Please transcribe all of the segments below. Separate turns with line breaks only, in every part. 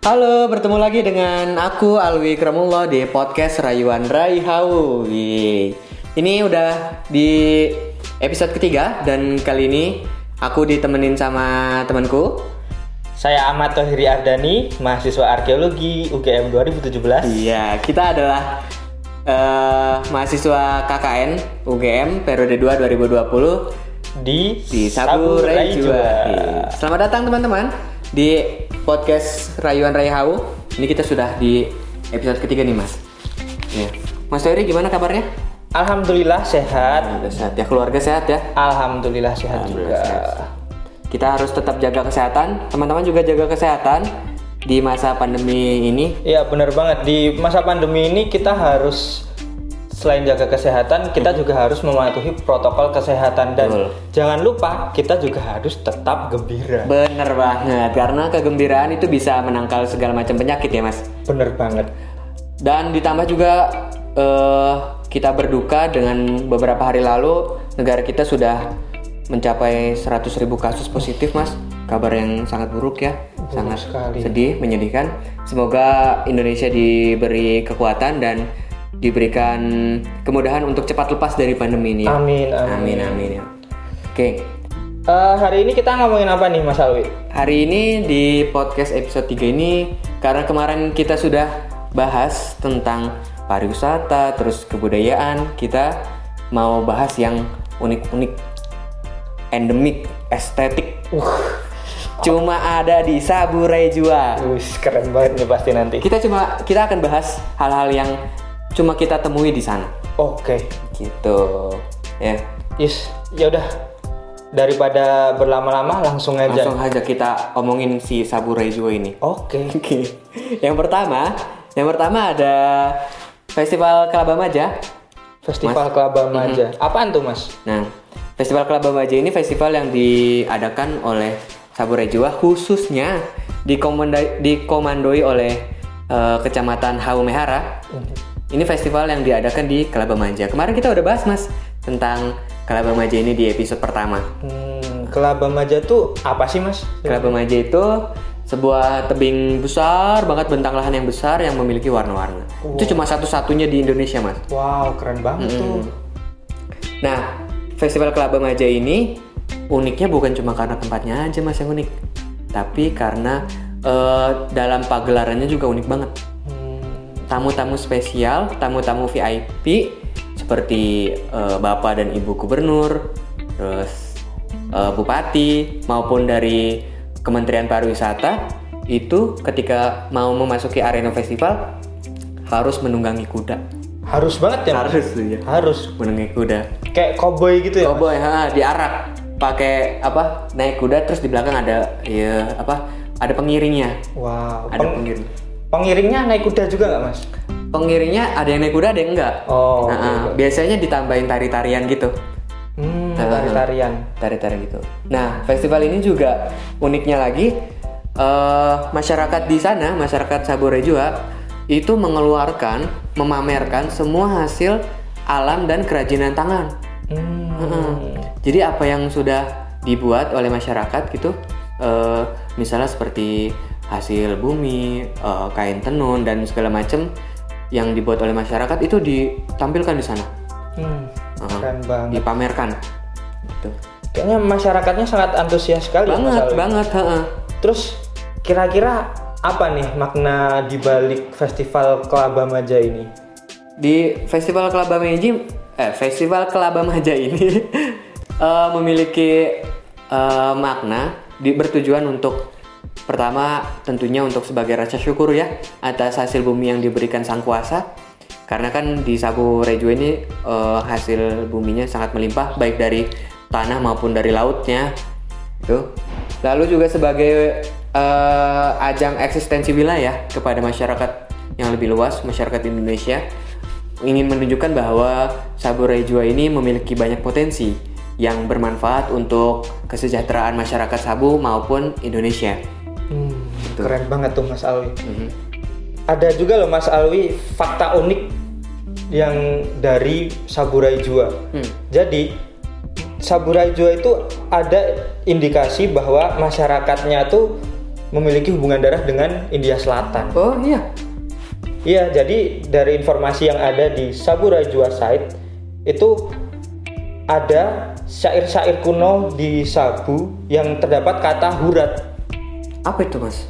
Halo, bertemu lagi dengan aku Alwi Kremullah di podcast Rayuan Rai Hau. Wih. Ini udah di episode ketiga dan kali ini aku ditemenin sama temanku.
Saya Ahmad Tohiri Ardani, mahasiswa arkeologi UGM 2017.
Iya, kita adalah eh, mahasiswa KKN UGM periode 2 2020
Di,
di Sabu Rai
Jua.
Jua. Selamat datang teman-teman di podcast Rayuan Rai Hau. Ini kita sudah di episode ketiga nih mas. Iya. Mas Ferry gimana kabarnya?
Alhamdulillah sehat.
Alhamdulillah sehat ya keluarga sehat ya.
Alhamdulillah sehat
Alhamdulillah
juga.
sehat. Kita harus tetap jaga kesehatan. Teman-teman juga jaga kesehatan di masa pandemi ini.
Iya benar banget di masa pandemi ini kita harus selain jaga kesehatan kita juga harus mematuhi protokol kesehatan dan
Hmm. Betul.
jangan lupa kita juga harus tetap gembira.
Bener banget karena kegembiraan itu bisa menangkal segala macam penyakit ya mas.
Bener banget.
Dan ditambah juga eh, kita berduka dengan beberapa hari lalu negara kita sudah mencapai 100.000 kasus positif, Mas. Kabar yang sangat buruk ya. sangat
sekali.
sedih, menyedihkan. Semoga Indonesia diberi kekuatan dan diberikan kemudahan untuk cepat lepas dari pandemi ini. ya.
Amin amin.
Amin amin ya. Oke.
Eh, hari ini kita ngomongin apa nih Mas Alwi?
Hari ini di podcast episode 3 ini karena kemarin kita sudah bahas tentang pariwisata terus kebudayaan, kita mau bahas yang unik-unik endemik estetik. Cuma ada di Saburai Jua.
Wih keren banget nih pasti nanti.
Kita cuma kita akan bahas hal-hal yang cuma kita temui di sana.
Oke.
Gitu. Ya.
Yes, ya udah. Daripada berlama-lama langsung aja.
Langsung aja kita omongin si Saburai Jua ini.
Oke.
Oke. Yang pertama, yang pertama ada Festival Kelaba Maja.
Festival Kelaba Maja. Apaan tuh, Mas?
Nah, Festival Kelaba Maja ini festival yang diadakan oleh Saburai Jua khususnya dikomanda- dikomandoi oleh eh, Kecamatan Haumehara. Ini festival yang diadakan di Kelaba Maja. Kemarin kita udah bahas Mas tentang Kelaba Maja ini di episode pertama.
Hmm, Kelaba Maja tuh apa sih, Mas?
Kelapa Maja itu sebuah tebing besar banget bentang lahan yang besar yang memiliki warna-warna. Itu cuma satu-satunya di Indonesia, Mas.
Wow, keren banget tuh.
Nah, Festival Kelapa Maja ini uniknya bukan cuma karena tempatnya aja, Mas, yang unik. Tapi karena eh, dalam pagelarannya juga unik banget.
Hmm,
Tamu-tamu spesial, tamu-tamu VIP seperti eh, Bapak dan Ibu Gubernur, terus eh, Bupati maupun dari Kementerian Pariwisata itu ketika mau memasuki arena festival harus menunggangi kuda.
harus banget ya, Mas?
Harus ya.
Harus.
Menunggangi kuda.
Kayak cowboy gitu ya. Mas?
Cowboy, ha, diarak pakai apa? Naik kuda terus di belakang ada ya apa? Ada pengiringnya.
Wow.
Ada
Peng-
pengiring.
pengiringnya naik kuda juga nggak, Mas?
Pengiringnya ada yang naik kuda, ada yang enggak.
Oh.
Nah, ah, biasanya ditambahin tari-tarian gitu.
Hmm, tari-tarian.
Tari-tari gitu. Nah, festival ini juga uniknya lagi eh, masyarakat di sana, masyarakat Sabore Jua itu mengeluarkan, memamerkan semua hasil alam dan kerajinan tangan.
Hmm.
Heeh. Jadi apa yang sudah dibuat oleh masyarakat gitu, eh, misalnya seperti hasil bumi, eh, kain tenun dan segala macam yang dibuat oleh masyarakat itu ditampilkan di sana,
Hmm,
Heeh.
Keren banget.
dipamerkan. Gitu.
Kayaknya masyarakatnya sangat antusias sekali ya, Mas
Banget
Alwi.
banget. heeh.
Terus kira-kira apa nih makna dibalik festival Kelaba Maja ini?
di festival kelaba meji eh festival kelaba maja ini eh, memiliki eh, makna di, bertujuan untuk pertama tentunya untuk sebagai rasa syukur ya atas hasil bumi yang diberikan sang kuasa karena kan di Sabu Rejo ini eh, hasil buminya sangat melimpah baik dari tanah maupun dari lautnya itu lalu juga sebagai eh, ajang eksistensi wilayah kepada masyarakat yang lebih luas masyarakat Indonesia ingin menunjukkan bahwa Saburai Jua ini memiliki banyak potensi yang bermanfaat untuk kesejahteraan masyarakat Sabu maupun Indonesia.
Hmm, Keren banget tuh Mas Alwi. Ada juga loh Mas Alwi fakta unik yang dari Saburai Jua. Jadi Saburai Jua itu ada indikasi bahwa masyarakatnya tuh memiliki hubungan darah dengan India Selatan.
Oh iya.
Iya, jadi dari informasi yang ada di Saburai Jua site itu ada syair-syair kuno di Sabu yang terdapat kata hurat.
Apa itu mas?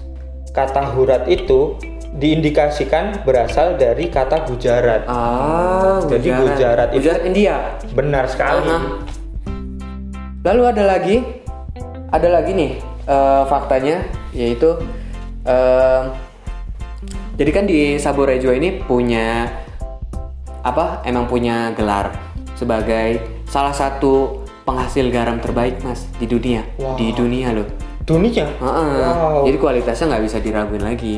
Kata hurat itu diindikasikan berasal dari kata Gujarat.
Ah,
Jadi
Gujarat.
Gujarat itu-
Gujarat India.
Benar sekali.
Aha. Lalu ada lagi, ada lagi nih eh, faktanya, yaitu eh, jadi kan di Saburejo ini punya apa? Emang punya gelar sebagai salah satu penghasil garam terbaik mas di dunia,
Wow.
di dunia loh.
Dunia.
Heeh.
Wow.
Jadi kualitasnya nggak bisa diraguin lagi.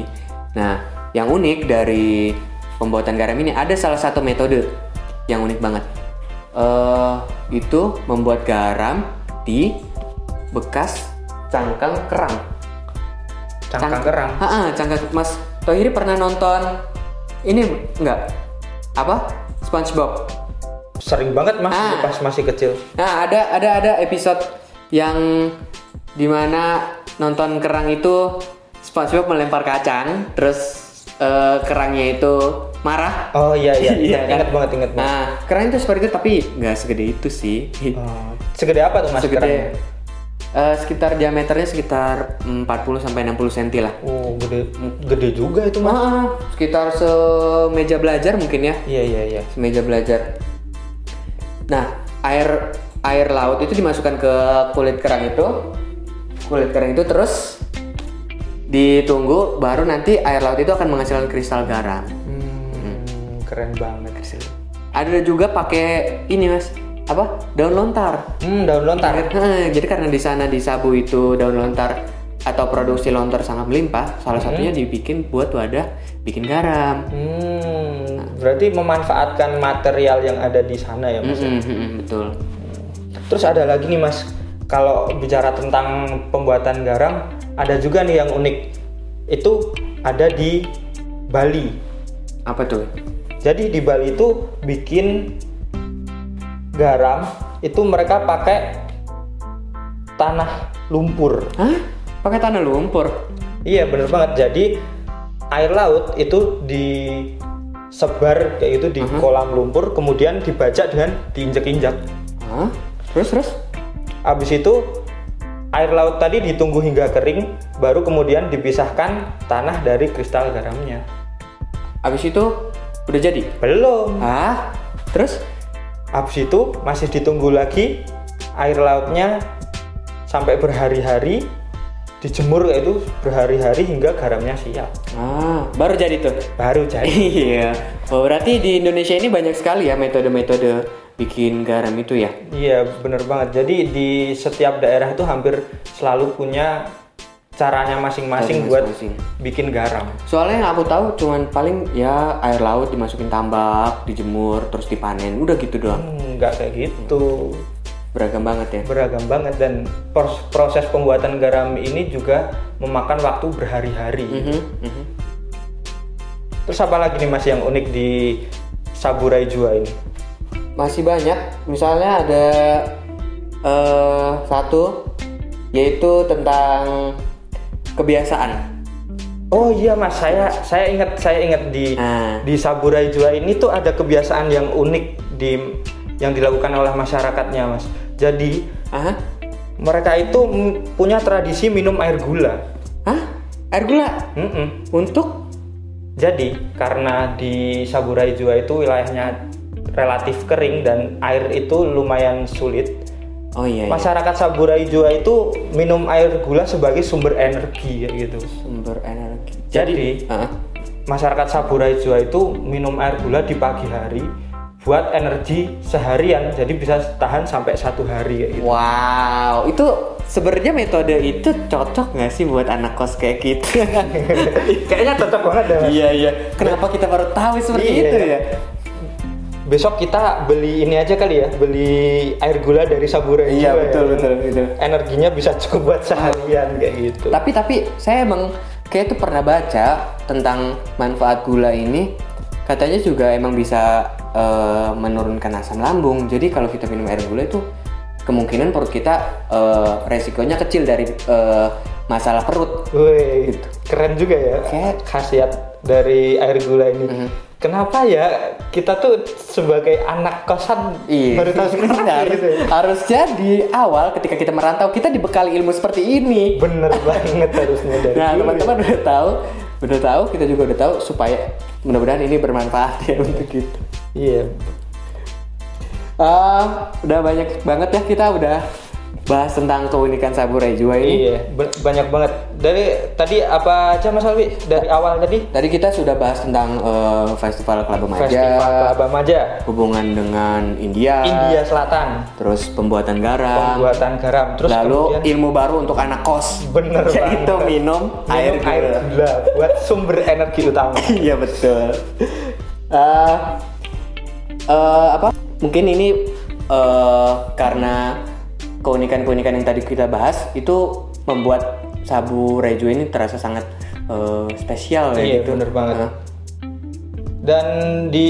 Nah, yang unik dari pembuatan garam ini ada salah satu metode yang unik banget. eh itu membuat garam di bekas cangkang kerang.
Cangkang kerang.
Heeh, cangkang Mas Tohiri pernah nonton ini nggak? Apa? SpongeBob.
Sering banget mas
Ah.
pas masih kecil.
Nah, ada ada ada episode yang dimana nonton kerang itu SpongeBob melempar kacang, terus eh, kerangnya itu marah.
Oh iya iya.
Iya, kan?
Ingat banget ingat banget.
Nah, kerang itu seperti itu tapi nggak segede itu sih.
Oh, ya? segede apa tuh mas kerangnya?
Ah. segede eh, sekitar diameternya sekitar 40 sampai 60 cm lah.
Oh gede gede juga itu mas.
Ah, sekitar semeja belajar mungkin ya.
Iya iya iya.
meja belajar. Nah, air air laut itu dimasukkan ke kulit kerang itu. Kulit kerang itu terus ditunggu baru nanti air laut itu akan menghasilkan kristal garam.
Hmm, keren banget sih.
Ada juga pakai ini, Mas. Apa? Daun lontar.
Hmm, daun lontar.
Heh, Jadi karena di sana di Sabu itu daun lontar atau produksi lontar sangat melimpah, salah satunya dibikin buat wadah bikin garam.
Hmm, berarti memanfaatkan material yang ada di sana ya mas.
Mm-mm, mm-mm, betul.
Terus ada lagi nih mas, kalau bicara tentang pembuatan garam, ada juga nih yang unik. Itu ada di Bali.
Apa tuh?
Jadi di Bali itu bikin garam itu mereka pakai tanah lumpur.
Hah? Pakai tanah lumpur.
Iya bener banget. Jadi air laut itu disebar yaitu di kolam lumpur, kemudian dibajak dengan diinjak-injak.
Hah? Terus terus?
Habis itu air laut tadi ditunggu hingga kering, baru kemudian dipisahkan tanah dari kristal garamnya.
Abis itu udah jadi.
Belum.
Hah? Terus?
Habis itu masih ditunggu lagi air lautnya sampai berhari-hari dijemur yaitu berhari-hari hingga garamnya siap.
Ah, baru jadi tuh.
Baru jadi.
Iya. Oh, berarti di Indonesia ini banyak sekali ya metode-metode bikin garam itu ya.
Iya, bener banget. Jadi di setiap daerah itu hampir selalu punya caranya masing-masing
Caranya
buat
masing-masing.
bikin garam.
Soalnya yang aku tahu cuman paling ya air laut dimasukin tambak, dijemur, terus dipanen. Udah gitu doang.
Hmm, Nggak kayak gitu.
Beragam banget ya.
beragam banget dan pros- proses pembuatan garam ini juga memakan waktu berhari-hari.
Mhm, mhm.
Terus apa lagi nih Mas yang unik di Saburai Jua ini?
Masih banyak. Misalnya ada eh satu yaitu tentang kebiasaan.
Oh iya Mas, saya saya ingat saya ingat di
Ah.
di Saburai Jua ini tuh ada kebiasaan yang unik di yang dilakukan oleh masyarakatnya Mas. Jadi
Aha.
mereka itu mm, punya tradisi minum air gula.
Hah? Air gula
Mm-mm.
untuk
Jadi karena di Saburai Jua itu wilayahnya relatif kering dan air itu lumayan sulit.
Oh iya, iya.
Masyarakat Saburai Jua itu minum air gula sebagai sumber energi kayak gitu.
sumber energi.
Jadi
Heeh.
masyarakat Saburai Jua itu minum air gula di pagi hari buat energi seharian. Jadi bisa tahan sampai satu hari kayak gitu.
Wow, itu sebenarnya metode itu cocok nggak sih buat anak kos kayak kita?
Kayaknya cocok banget dah. Mas.
iya iya. Kenapa kita baru tahu seperti
Iya,
itu
iya.
ya?
Besok kita beli ini aja kali ya, beli air gula dari Saburai
Iya
Jua ya.
betul betul betul.
energinya bisa cukup buat seharian kayak gitu.
Tapi tapi saya emang kayak itu pernah baca tentang manfaat gula ini. Katanya juga emang bisa eh, menurunkan asam lambung. Jadi kalau kita minum air gula itu kemungkinan perut kita eh, resikonya kecil dari eh, masalah perut.
Woi,
Gitu.
keren juga ya
Kayak-
khasiat dari air gula ini.
Mm-hmm.
Kenapa ya kita tuh sebagai anak kosan
Iya.
baru tahu sekarang ya
Harus-
gitu ya?
Harusnya di awal ketika kita merantau kita dibekali ilmu seperti ini.
Bener banget harusnya dari
Nah,
dulu.
teman-teman udah tahu, udah tahu, kita juga udah tahu supaya mudah-mudahan ini bermanfaat ya untuk kita.
Iya.
Hmm? Ah, udah banyak banget ya kita udah bahas tentang keunikan saburai jua ini.
Iya, ba- banyak banget. Dari tadi apa aja Mas Alwi? Dari awal tadi
Tadi kita sudah bahas tentang eh, festival Kelapa Maja,
Festival Kelapa Maja,
hubungan dengan India,
India Selatan,
terus pembuatan garam,
pembuatan garam. Terus
lalu
kemudian
ilmu baru untuk anak kos.
Bener
Yaitu
banget.
minum,
minum
air gitu ya. gula.
gula buat sumber energi utama.
Iya betul. Eh, eh, apa? Mungkin ini eh, karena keunikan-keunikan yang tadi kita bahas itu membuat sabu reju ini terasa sangat eh, spesial ya
Iya,
gitu.
bener banget.
Nah,
Dan di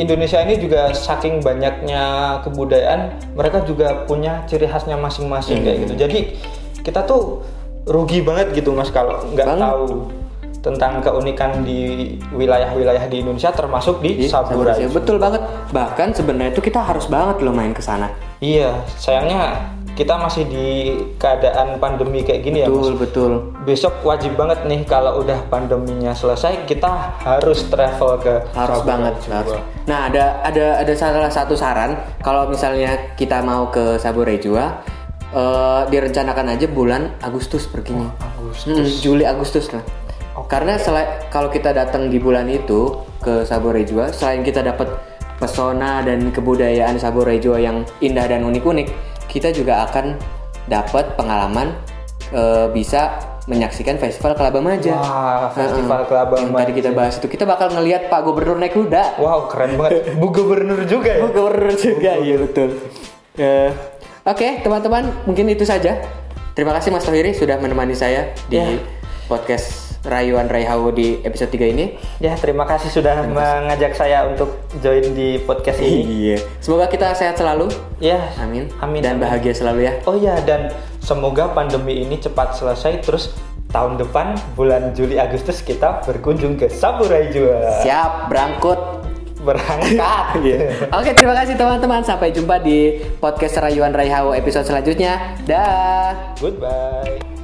Indonesia ini juga saking banyaknya kebudayaan, mereka juga punya ciri khasnya masing-masing kayak
Hmm.
gitu. Jadi kita tuh rugi banget gitu mas kalau nggak
Banget.
tahu tentang keunikan di wilayah-wilayah di Indonesia termasuk di
jadi sabu
Saburai.
Rejo, betul banget. Bahkan sebenarnya itu kita harus banget loh main ke sana.
Iya, sayangnya kita masih di keadaan pandemi kayak gini ya mas.
Betul, betul.
Besok wajib banget nih kalau udah pandeminya selesai kita harus travel ke
harus
Saburai
banget
Jawa.
harus. Nah ada ada ada salah satu saran kalau misalnya kita mau ke Saburejwa eh direncanakan aja bulan Agustus perginya.
Oh,
Agustus. Hmm, Juli Agustus lah. Karena selai- kalau kita datang di bulan itu ke Saburejwa selain kita dapat pesona dan kebudayaan Saburejwa yang indah dan unik-unik, kita juga akan dapat pengalaman eh, bisa menyaksikan festival Kelaba Maja.
Wah, festival
Heeh.
Kelaba
yang tadi kita bahas itu kita bakal ngelihat Pak Gubernur naik kuda.
Wow, keren banget. Bu Gubernur juga ya.
Pak Gubernur Oh, juga, iya betul. Eh, Oke, teman-teman, mungkin itu saja. Terima kasih Mas Tohiri sudah menemani saya di
Ya.
podcast Rayuan Raihau di episode 3 ini.
Ya, terima kasih sudah mengajak saya untuk join di podcast ini.
Iya. Semoga kita sehat selalu.
Ya,
Amin.
Amin.
Dan
amin.
bahagia selalu ya.
Oh ya, dan semoga pandemi ini cepat selesai terus tahun depan bulan Juli Agustus kita berkunjung ke Saburai Jua.
Siap, berangkut.
Berangkat. Iya.
Oke, terima kasih teman-teman. Sampai jumpa di podcast Rayuan Raihau episode selanjutnya. Dah.
Goodbye.